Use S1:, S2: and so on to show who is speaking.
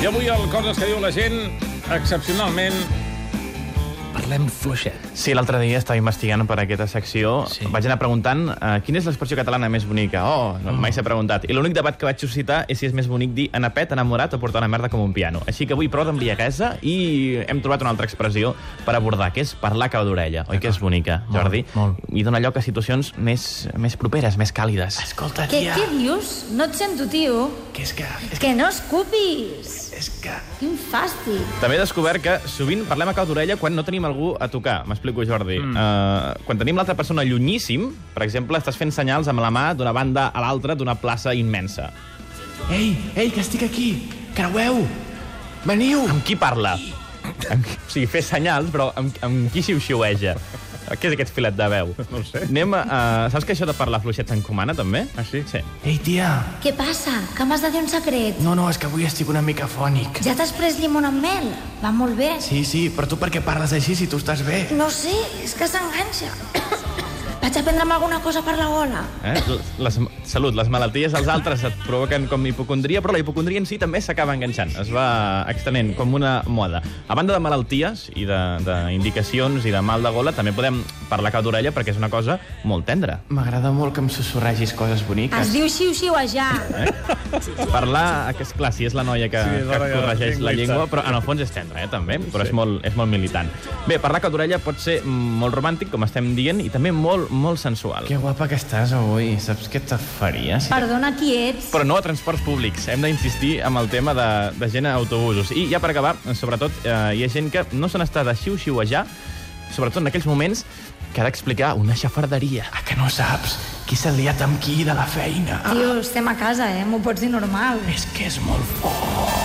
S1: I avui el Coses que diu la gent, excepcionalment, parlem fluixet.
S2: Sí, l'altre dia estava investigant per aquesta secció.
S1: Sí.
S2: Sí. Vaig anar preguntant uh, quina és l'expressió catalana més bonica. Oh, no,
S1: Mm.
S2: mai s'ha preguntat. I l'únic debat que vaig suscitar és si és més bonic dir anapet, enamorat o portar una merda com un piano. Així que avui prou d'embriaguesa i hem trobat una altra expressió per abordar, que és parlar cau d'orella. Oi que és bonica,
S1: Molt,
S2: Jordi?
S1: molt.
S2: I dona lloc a situacions més, més properes, més càlides.
S3: Escolta,
S4: Què,
S3: tia,
S4: què dius? No et sento, tio.
S3: que és que...
S4: Que no escupis!
S3: És que...
S4: Quin fàstic.
S2: També he descobert que sovint parlem a cau d'orella quan no tenim algú a tocar. M'explico, Jordi. Mm. Uh, quan tenim l'altra persona llunyíssim, per exemple, estàs fent senyals amb la mà d'una banda a l'altra d'una plaça immensa.
S3: Ei, ei, que estic aquí! Creueu! Veniu!
S2: Amb qui parla? Amb, qui- o sigui, fer senyals, però amb, amb qui xiu-xiueja? Què és aquest filet de veu?
S1: No ho sé.
S2: Anem a, uh, saps que això de parlar fluixet s'encomana, també?
S1: Ah, sí?
S2: Sí.
S3: Ei, tia!
S4: Què passa? Que m'has de dir un secret?
S3: No, no, és que avui estic una mica fònic.
S4: Ja t'has pres llimona amb mel? Va molt bé.
S3: Sí, sí, però tu per què parles així si tu estàs bé?
S4: No sé, és que s'enganxa. Vaig a prendre'm alguna cosa per la gola.
S2: Eh? Les, salut, les malalties dels altres et provoquen com hipocondria, però la hipocondria en si també s'acaba enganxant. Es va extenent com una moda. A banda de malalties i d'indicacions i de mal de gola, també podem parlar cap d'orella perquè és una cosa molt tendra.
S3: M'agrada molt que em susurregis coses boniques.
S4: Es diu xiu-xiuejar.
S2: Parlar, eh, que és clar, si és la noia que,
S1: Sí, és
S2: sí,
S1: la
S2: que
S1: noia
S2: corregeix la
S1: lingüista.
S2: llengua, però en el fons és tendra, eh, també, però és, molt, és molt militant. Bé, parlar cap d'orella pot ser molt romàntic, com estem dient, i també molt, molt sensual.
S3: Que guapa que estàs avui. Saps què te faria? Si...
S4: Perdona qui ets.
S2: però no a transports públics. Hem d'insistir amb el tema de, de gent a autobusos. I ja per acabar, sobretot, eh, hi ha gent que no se n'està de xiu-xiuejar, sobretot en aquells moments que ha d'explicar una xafarderia.
S3: Ah, que no saps qui s'ha liat amb qui de la feina.
S4: Tio, estem a casa, eh? M'ho pots dir normal.
S3: És que és molt fort.